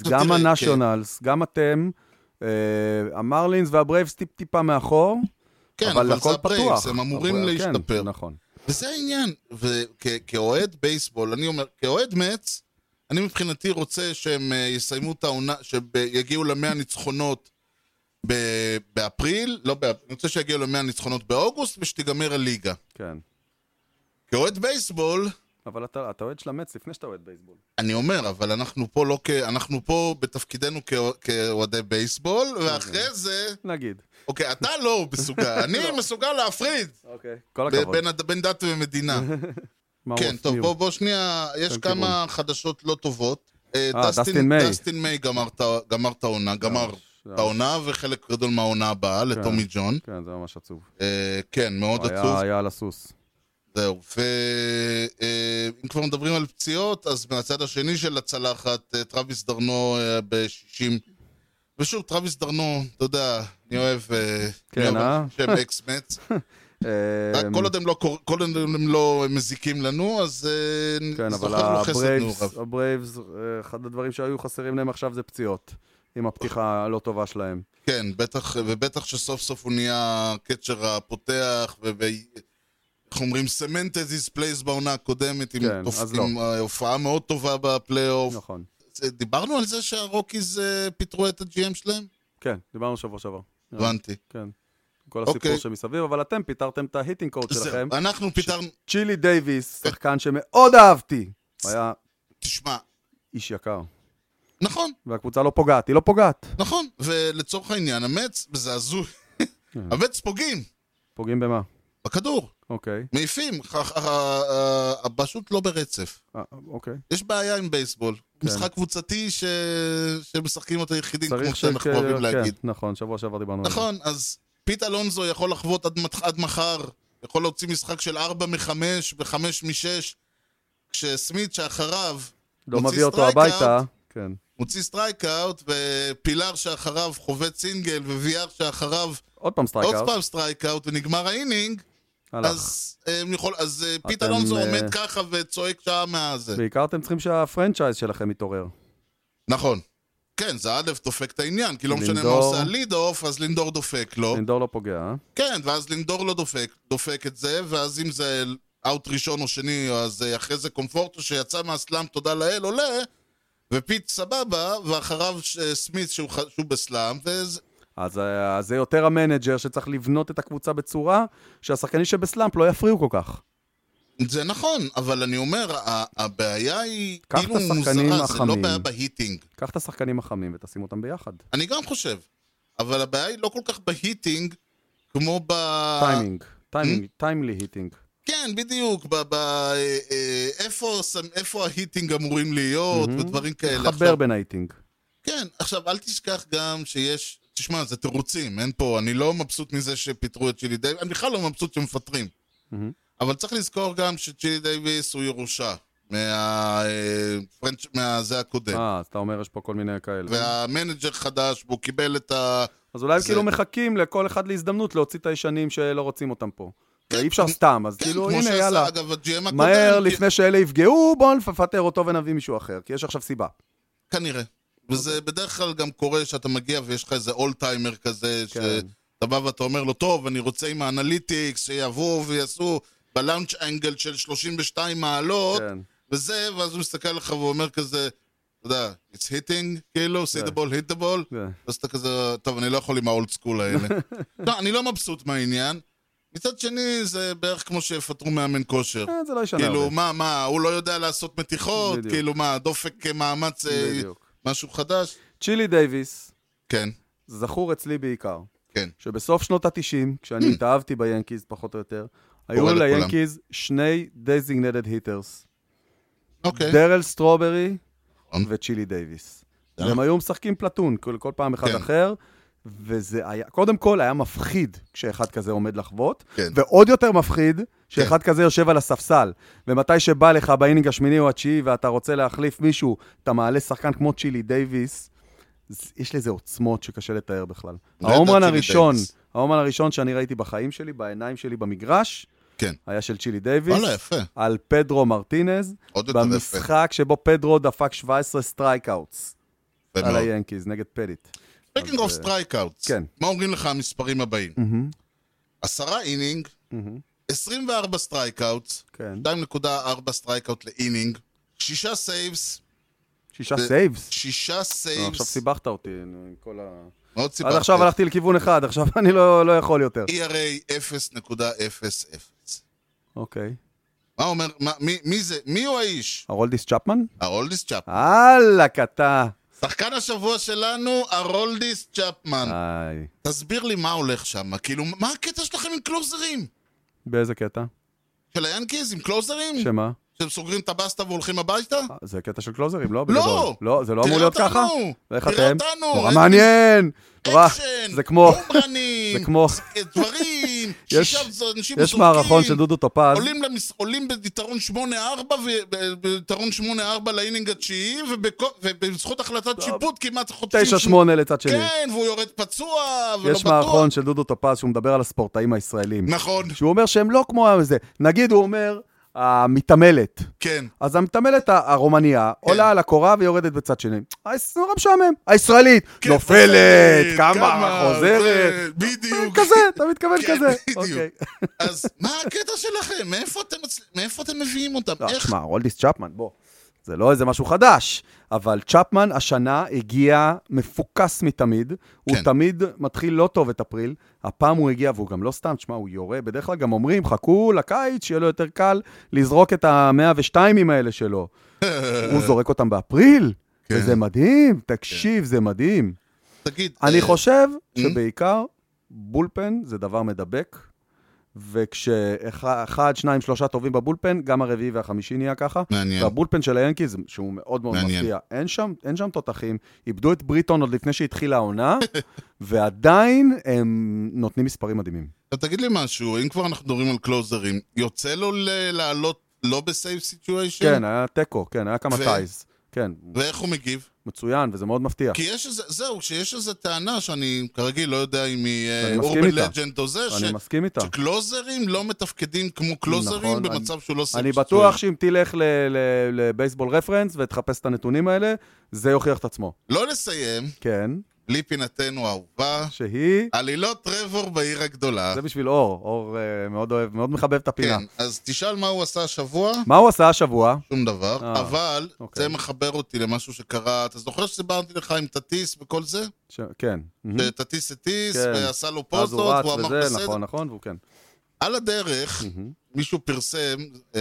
אתה גם תראה, כן. הנשיונלס, גם אתם, אה, המרלינס והברייבס טיפ-טיפה מאחור, כן, אבל אבל זה הכל הברייבס, פתוח. הם אמורים אבל- כן, להשתפר. נכון. וזה העניין, וכאוהד בייסבול, אני אומר, כאוהד מצ, אני מבחינתי רוצה שהם אה, יסיימו את העונה, שיגיעו למאה ניצחונות ב- באפריל, לא באפריל, אני רוצה שיגיעו למאה ניצחונות באוגוסט, ושתיגמר הליגה. כן. כאוהד בייסבול, אבל אתה אתה אוהד של המץ לפני שאתה אוהד בייסבול. אני אומר, אבל אנחנו פה לא כ... אנחנו פה בתפקידנו כאוה- כאוהדי בייסבול, ואחרי זה... נגיד. אוקיי, אתה לא מסוגל, אני מסוגל להפריד אוקיי. כל ב- הכבוד. בין הד- בין דת ומדינה. מה הוא כן, טוב, הפניו? בוא, בוא שנייה, יש כן, כמה חדשות לא טובות. אה, אה, דסטין מיי. דסטין מיי גמר את ה- גמר את העונה, גמר ממש. את העונה וחלק גדול מהעונה הבאה לטומי ג'ון. כן, זה ממש עצוב. אה, כן, מאוד הוא היה- עצוב. היה על הסוס. זהו, ואם כבר מדברים על פציעות, אז מהצד השני של הצלחת, אה, טרוויס דרנו אה, ב-60. ושוב, טרוויס דרנו, אתה יודע, אני אוהב... אה, כן, אני אוהב אה? אנשים שהם אקס-מאץ. רק אה, כל עוד הם לא קור- כל עוד הם לא מזיקים לנו, אז אה, כן, אבל זוכר לו חסד מעורב. הברייבס, הברייבס, אה, אחד הדברים שהיו חסרים להם עכשיו זה פציעות. עם הפתיחה הלא טובה שלהם. כן, בטח, ובטח שסוף סוף הוא נהיה הקצ'ר הפותח, ו... ו- איך אומרים? סמנטד איז פלייס בעונה הקודמת, עם, כן, תופ... אז עם אה, הופעה מאוד טובה בפלייאוף. נכון. זה- דיברנו על זה שהרוקיז אה, פיטרו את הג'י.אם שלהם? כן, דיברנו שבוע שעבר. הבנתי. כן. כל אוקיי. הסיפור שמסביב, אבל אתם פיטרתם את ההיטינג קוד שלכם. זהו, אה? אנחנו פיטרנו... צ'ילי דייוויס, שחקן שמאוד אהבתי. הוא היה תשמע, איש יקר. נכון, והקבוצה לא פוגעת, היא לא פוגעת. נכון, כן. ולצורך העניין, המץ, זה הזוי. המץ פוגעים פוגעים במה? בכדור. אוקיי. מעיפים, ח- ח- ה- ה- ה- פשוט לא ברצף. אה, אוקיי. יש בעיה עם בייסבול. משחק קבוצתי ש... שמשחקים אותו יחידים, כמו כן. צריך שאנחנו שכ- אוהבים כן, להגיד. נכון, שבוע שעבר דיברנו על זה. נכון, אז פיט אלונזו יכול לחוות עד, מת- עד מחר, יכול להוציא משחק של 4 מ-5 ו-5 מ-6, כשסמית שאחריו לא מוציא מביא אותו סטרייק הביתה. אאוט. כן. מוציא סטרייקאוט, ופילר שאחריו חובט סינגל, וויאר שאחריו עוד פעם סטרייקאוט. עוד פעם סטרייקאוט, ונגמר האינינג, הלך. אז, הם יכול, אז אה, פיט אתם, אלונזו אה, עומד ככה וצועק שעה מהזה. בעיקר אתם צריכים שהפרנצ'ייז שלכם יתעורר. נכון. כן, זה א' דופק את העניין, כי לא משנה מה לינדור. עושה הליד אוף, אז לינדור דופק לו. לינדור לא פוגע, אה? כן, ואז לינדור לא דופק, דופק את זה, ואז אם זה אאוט ראשון או שני, אז אה, אחרי זה קומפורטו שיצא מהסלאם, תודה לאל, עולה, ופיט סבבה, ואחריו אה, סמית שהוא, ח- שהוא בסלאם, וזה... אז אה, אז זה יותר המנג'ר שצריך לבנות את הקבוצה בצורה שהשחקנים שבסלאמפ לא יפריעו כל כך. זה נכון, אבל אני אומר, ה- הבעיה היא קח כאילו את השחקנים מוזרה, זה לא החמים. בעיה בהיטינג. קח את השחקנים החמים ותשים אותם ביחד. אני גם חושב, אבל הבעיה היא לא כל כך בהיטינג, כמו ב... אה? טיימינג. טיימינג, טיימלי היטינג. כן, בדיוק, ב... ב אה, אה, איפה, שם- איפה ההיטינג אמורים להיות, מהמם. ודברים כאלה. חבר עכשיו- בין ההיטינג. כן, עכשיו, אל תשכח גם שיש... תשמע, זה תירוצים, אין פה... אני לא מבסוט מזה שפיטרו את צ'ילי דייוויס, אני בכלל לא מבסוט שמפטרים. מהמם. אבל צריך לזכור גם שצ'ילי דייוויס הוא ירושה. מה... אה, פרנץ'- מהזה הקודם. אה, אז אתה אומר יש פה כל מיני כאלה. והמנג'ר חדש, והוא קיבל את ה... אז אולי הם זה- כאילו מחכים לכל אחד להזדמנות להוציא את הישנים שלא רוצים אותם פה. כן, אי אפשר כמו- סתם, אז כן, כאילו, כמו הנה, שעשה, יאללה. אגב, הג'י.אם הקודם. מהר, כי- לפני שאלה יפגעו, בואו נפטר אותו ונביא מישהו אחר, כי יש עכשיו סיבה. כנראה. אוקיי. וזה בדרך כלל גם קורה שאתה מגיע ויש לך איזה אול טיימר כזה, כן. שאתה בא ואתה אומר לו, טוב, אני רוצה עם האנליטיקס שיבואו ויעשו בלאונג' אנגל של 32 מעלות, כן. וזה, ואז הוא מסתכל עליך ואומר כזה, אתה יודע, it's hitting, כאילו, see the ball, hit the ball, כן. ואז אתה כזה, טוב, אני לא יכול עם האולד סקול האלה. לא, אני לא מבסוט מהעניין. מצד שני, זה בערך כמו שיפטרו מאמן כושר. אה, זה לא ישנה כאילו, הרבה. מה, מה, הוא לא יודע לעשות מתיחות, בדיוק. כאילו, מה, דופק מאמץ, אה, בדיוק. משהו חדש? צ'ילי דייוויס, כן, זכור אצלי בעיקר, כן. שבסוף שנות ה-90, כשאני התאהבתי ביאנקיז פחות או יותר, היו לכולם. ליאנקיז שני דייזינגנדד היטרס, אוקיי. דרל סטרוברי נכון. וצ'ילי דייוויס. נכון. והם היו משחקים פלטון, כל כל פעם אחד כן. אחר. וזה היה, קודם כל היה מפחיד כשאחד כזה עומד לחוות, כן. ועוד יותר מפחיד שאחד כזה יושב על הספסל, ומתי שבא לך באינינג השמיני או התשיעי ואתה רוצה להחליף מישהו, אתה מעלה שחקן כמו צ'ילי דייוויס, אז יש לזה עוצמות שקשה לתאר בכלל. בטח, ההומרן צ'ילי הראשון, דייוויס. ההומרן הראשון שאני ראיתי בחיים שלי, בעיניים שלי במגרש, כן. היה של צ'ילי דייוויס, וואלה, יפה. על פדרו מרטינז, עוד יותר יפה. במשחק שבו פדרו דפק 17 סטרייקאוטס יפה על מאוד. היאנקיז נגד פדיט. ספקינג אוף סטרייקאוטס, כן. מה אומרים לך המספרים הבאים? עשרה אינינג, 24 סטרייקאוטס, כן. 2.4 סטרייקאוט לאינינג, שישה סייבס, שישה זה- סייבס. שישה אה, עכשיו סייבס, סיבכת אותי נו, עם כל ה... מאוד סיבה. E עד עכשיו הלכתי לכיוון אחד, עכשיו אני לא לא יכול יותר. ERA 0.00. אוקיי. מה אומר, מה- מי- מי זה, מי הוא האיש? הרולדיס צ'פמן? הרולדיס צ'אפמן. הלאה, קטע. שחקן השבוע שלנו, הרולדיס צ'אפמן. אה. איי. תסביר לי מה הולך שם, כאילו, מה הקטע שלכם עם קלוזרים? באיזה קטע? של היאנקיז עם קלוזרים? שמה? שהם סוגרים את הבסטה והולכים הביתה? אה, זה קטע של קלוזרים, לא? לא! בגדול. לא, זה לא אמור תראה להיות אותנו! ככה? ואיך תראה אתם? אותנו! אה, נורא איזה מעניין! נורא- אקשן, זה כמו... בומרנים, זה כמו... דברים, יש- שישה אנשים יש מערכון של דודו טופז. עולים, למס... עולים ביתרון 8-4, ו- ב- ביתרון 8-4 לאינינג התשיעי, ובכו- ובזכות החלטת שיפוט כמעט חוטפים... 9-8 לצד שני. כן, והוא יורד פצוע, ולא יש לא בטוח. מערכון של דודו טופז שהוא מדבר על הספורטאים הישראלים. נכון, שהוא אומר שהם לא כמו זה. נגיד, הוא אומר, המתעמלת. כן. אז המתעמלת ה- הרומניה עולה על הקורה ויורדת בצד שני. היש- נורא משעמם. הישראלית נופלת, נופלת, קמה, כן, זה, חוזרת. אה, בדיוק. כזה, אתה מתכוון כן, כזה. בדיוק. אוקיי. אז מה הקטע שלכם? מאיפה אתם, מצל- מאיפה אתם מביאים אותם? לא, איך? תשמע, רולדיס צ'פמן, בוא. זה לא איזה משהו חדש, אבל צ'פמן השנה הגיע מפוקס מתמיד. הוא כן. תמיד מתחיל לא טוב את אפריל. הפעם הוא הגיע, והוא גם לא סתם, תשמע, הוא יורה. בדרך כלל גם אומרים, חכו לקיץ, שיהיה לו יותר קל לזרוק את ה-102ים האלה שלו. הוא זורק אותם באפריל, כן. וזה מדהים. תקשיב, זה מדהים. תגיד, אני אה, חושב שבעיקר בולפן זה דבר מדבק, וכשאחד, שניים, שלושה טובים בבולפן, גם הרביעי והחמישי נהיה ככה. מעניין. והבולפן של היאנקיז, שהוא מאוד מאוד מעניין. מפתיע, אין שם, אין שם תותחים, איבדו את בריטון עוד לפני שהתחילה העונה, ועדיין הם נותנים מספרים מדהימים. אתה תגיד לי משהו, אם כבר אנחנו מדברים על קלוזרים, יוצא לו ל- לעלות לא בסייב סיטואשן? כן, היה תיקו, כן, היה כמה ו- טייז. כן, ואיך הוא מגיב? מצוין, וזה מאוד מפתיע. כי יש איזה, זהו, שיש איזה טענה שאני כרגיל לא יודע אם היא אה, אני מסכים אורבן איתה. לג'נד או זה, אני ש- מסכים איתה. שקלוזרים לא מתפקדים כמו קלוזרים נכון, במצב שהוא לא סייב אני בטוח שאם תלך ל- ל- לבייסבול רפרנס ותחפש את הנתונים האלה, זה יוכיח את עצמו. לא לסיים, כן, בלי פינתנו האהובה, שהיא... אה. עלילות טרבור בעיר הגדולה. זה בשביל אור, אור אה, מאוד אוהב, מאוד מחבב את הפינה. כן, אז תשאל מה הוא עשה השבוע, מה הוא עשה השבוע? שום דבר, אה, אבל אוקיי. זה מחבר אותי למשהו שקרה, אתה זוכר שסיברתי לך עם תטיס וכל זה? ש... כן. מהמם. שתטיס הטיס, כן. ועשה לו אז פוסטות, הוא רץ והוא אמר וזה, בסדר. נכון, Hmm. נכון, והוא כן. על הדרך, מהמם. מישהו פרסם אה,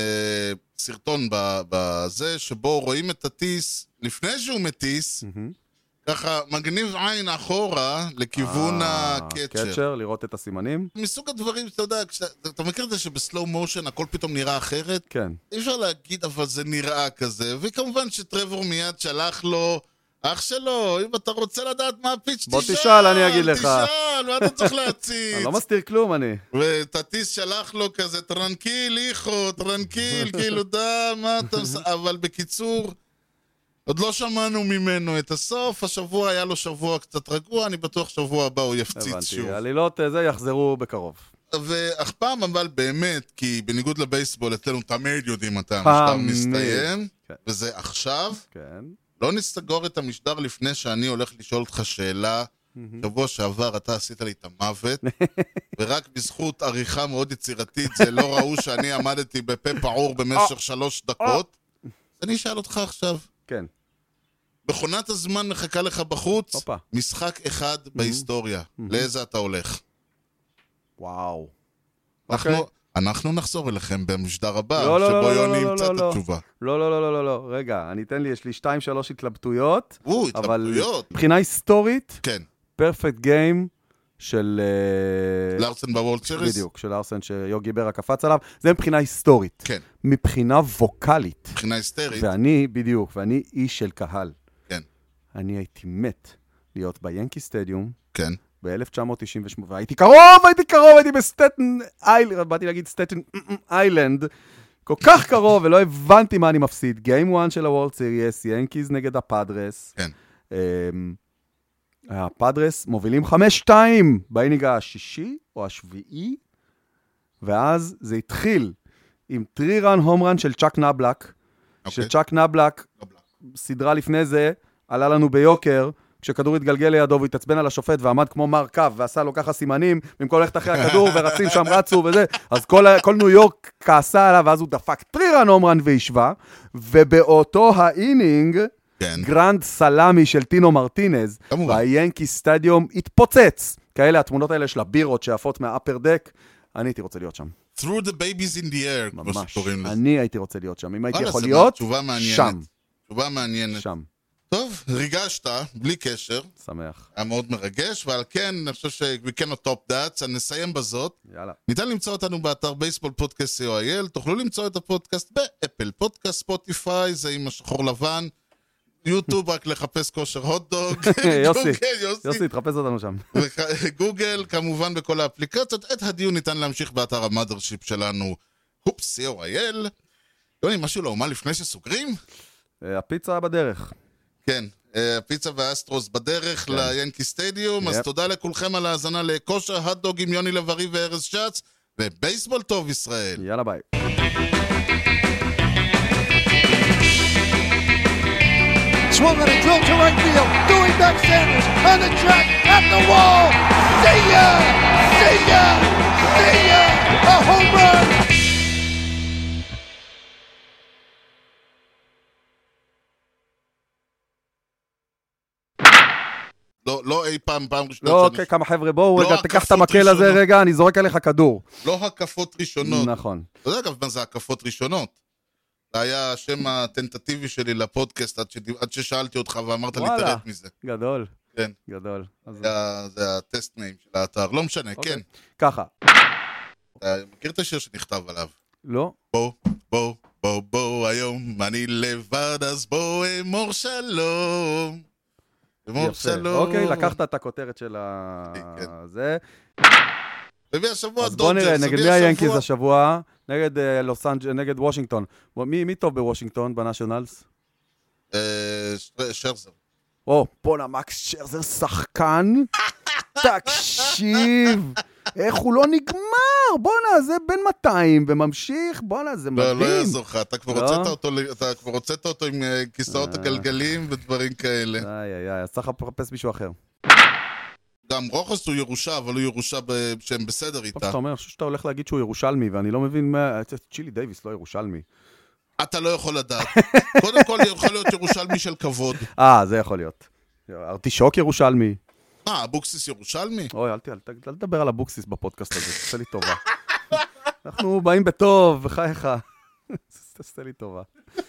סרטון ב- בזה, שבו רואים את הטיס, לפני שהוא מטיס, מהמם. ככה מגניב עין אחורה לכיוון אה, הקצ'ר. קצ'ר, לראות את הסימנים? מסוג הדברים שאתה יודע, כשאתה- אתה מכיר את זה שבסלואו מושן הכל פתאום נראה אחרת? כן. אי אפשר להגיד, אבל זה נראה כזה. וכמובן שטרבור מיד שלח לו, אח שלו, אם אתה רוצה לדעת מה הפיץ', בוא תשאל, אני אגיד לך." תשאל, מה אתה צריך להציץ? אני לא מסתיר כלום, אני. וטטיס שלח לו כזה, טרנקיל, איכו, טרנקיל, כאילו, דה, מה אתה... מס-" אבל בקיצור, עוד לא שמענו ממנו את הסוף, השבוע היה לו שבוע קצת רגוע, אני בטוח שבוע הבא הוא יפציץ שוב. הבנתי. עלילות אה, זה יחזרו בקרוב. ואך פעם אבל באמת, כי בניגוד לבייסבול, אצלנו תמיד יודעים מתי המשטר תמיד. מסתיים, כן. וזה עכשיו. כן. לא נסגור את המשדר לפני שאני הולך לשאול אותך שאלה. שבוע שעבר אתה עשית לי את המוות, ורק בזכות עריכה מאוד יצירתית זה לא ראו שאני עמדתי בפה פעור במשך שלוש דקות. אני אשאל אותך עכשיו, כן. מכונת הזמן מחכה לך בחוץ, הופה. Mm-hmm. משחק אחד בהיסטוריה, לאיזה אתה הולך? וואו. אנחנו- אנחנו נחזור אליכם במשדר הבא, אוקיי. לא, לא, לא, שבו לא, יוני לא, ימצא לא, את לא. התשובה. לא, לא, לא, לא, לא, לא. רגע, אני אתן לי, יש לי שתיים, שלוש התלבטויות, וואו, אבל התלבטויות. מבחינה היסטורית, כן, פרפקט גיים של... אה, לארסן בוולד סיריס? בדיוק, של ארסן שיוגי ברה קפץ עליו, זה מבחינה היסטורית. כן. מבחינה ווקאלית. מבחינה היסטרית. ואני, בדיוק, ואני איש של קהל. כן. אני הייתי מת להיות ביאנקי סטדיום כן. ב-1998, והייתי קרוב, הייתי קרוב, הייתי בסטטן איילנד, באתי להגיד סטטן איילנד, כל כך קרוב, ולא הבנתי מה אני מפסיד. גיים 1 של הוולד סיריאס, ינקיז נגד הפאדרס. כן. אמ, הפאדרס מובילים 5-2 באינינג השישי או השביעי, ואז זה התחיל עם טרי רן הום רן של צ'אק נבלק, אוקיי. שצ'אק נבלק נבלק. סדרה לפני זה, עלה לנו ביוקר, כשכדור התגלגל לידו והוא התעצבן על השופט ועמד כמו מר קו ועשה לו ככה סימנים, במקום ללכת אחרי הכדור ורצים שם רצו וזה, אז כל, ה- כל ניו יורק כעסה עליו ואז הוא דפק טרירן הומרן והשווה, ובאותו האינינג, כן. גרנד סלאמי של טינו מרטינז, כמובן. והיאנקי סטדיום התפוצץ. כאלה התמונות האלה של הבירות שעפות מהאפר דק, אני הייתי רוצה להיות שם. through the babies in the air, כמו ממש. שקוראים לזה. אני הייתי רוצה להיות שם. אם הייתי לא וואלה, יכול זה להיות, תשובה מעניינת. שם. תשובה מעניינת. שם. טוב, ריגשת, בלי קשר, שמח. היה מאוד מרגש, ועל כן, אני חושב ש- we cannot top that, אני נסיים בזאת. יאללה. ניתן למצוא אותנו באתר בייסבול פודקאסט co.il, תוכלו למצוא את הפודקאסט באפל, פודקאסט ספוטיפיי, זה עם השחור לבן, יוטיוב רק לחפש כושר הוטדוג, יוסי, גוגל, יוסי, יוסי, תחפש אותנו שם. וכ- גוגל, כמובן בכל האפליקציות. את הדיון ניתן להמשיך באתר המאדרשיפ שלנו, הופס, co.il. יוני, משהו לאומה לפני שסוגרים? אה, הפיצה בדרך. כן, אה, הפיצה והאסטרוס בדרך ליאנקי סטדיום, אז כן. יפ. תודה לכולכם על ההאזנה לכושר הדדוג עם יוני לב-ארי וארז שץ, ובייסבול טוב ישראל. יאללה ביי. Swung on a drill to right field. Doing back Sanders on the track at the wall. See ya! See ya! See ya! A home run! לא, לא אי פעם, פעם ראשונה. לא, שאני- אוקיי, כמה חבר'ה, בואו לא רגע, תיקח את הקפות המקל הזה ראשונות. רגע, אני זורק עליך כדור. לא הקפות ראשונות. נכון. אתה יודע אגב מה זה הקפות ראשונות. זה היה השם הטנטטיבי שלי לפודקאסט עד, שדיב- עד ששאלתי אותך ואמרת לי וואלה. תרד מזה. גדול. כן. גדול. אז זה ה- זה הטסט ניים של האתר, לא משנה, אוקיי. כן. ככה. אתה מכיר את השיר שנכתב עליו? לא? בוא, בוא, בוא, בוא, היום אני לבד, אז בוא אמור שלום. אמור יפה. שלום. אוקיי, לקחת את הכותרת של ה... כן. זה. ומי השבוע אז בוא דודג'רס, נראה, נגד ומי מי היאנקיז השבוע- השבוע? נגד אה, לוס אנג'ל, נגד וושינגטון. בוא, מי מי טוב בוושינגטון, בנאשונלס? אה, ש- שרזר. או, בואנה, מקס שרזר שחקן? תקשיב, איך הוא לא נגמר? בואנה, זה בן 200 וממשיך, בואנה, זה לא, מדהים. לא יעזור לך, אתה כבר לא? הוצאת אותו ל- אתה כבר הוצאת אותו עם אה, כיסאות אה. הגלגלים ודברים כאלה. איי, איי, איי, אז צריך לחפש מישהו אחר. גם רוחס הוא ירושה, אבל הוא ירושה ב- שהם בסדר טוב, איתה. אתה אומר, אני חושב שאתה הולך להגיד שהוא ירושלמי, ואני לא מבין מה... צ'ילי דייוויס לא ירושלמי. אתה לא יכול לדעת. קודם כל, יכול להיות ירושלמי של כבוד. אה, זה יכול להיות. ארטישוק ירושלמי. מה, אבוקסיס ירושלמי? אוי, אל ת- אל ת- אל תדבר על אבוקסיס בפודקאסט הזה, תעשה לי טובה. אנחנו באים בטוב, בחייך. תעשה לי טובה. אתה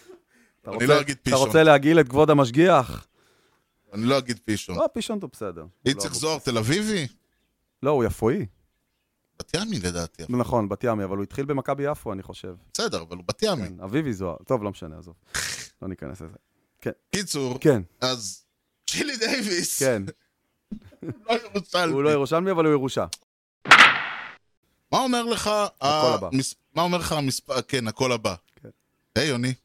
אני רוצה- לא אגיד אתה פישון. רוצה להגעיל את כבוד המשגיח? אני לא אגיד פישון. לא, פישון הוא בסדר. איציק לא, זוהר, תל אביבי? לא, הוא יפואי. בת ימי לדעתי. נכון, בת ימי, אבל הוא התחיל במכבי יפו, אני חושב. בסדר, אבל הוא בת ימי. כן, אביבי זוהר. טוב, לא משנה, עזוב. לא ניכנס לזה. קיצור, כן, אז צ'ילי דייוויס, כן. לא ירושלמי. הוא לא ירושלמי, אבל הוא ירושה. מה אומר לך... הכל ה- הבא. מס- מה אומר לך המספר... כן, הכל הבא. כן. היי, יוני.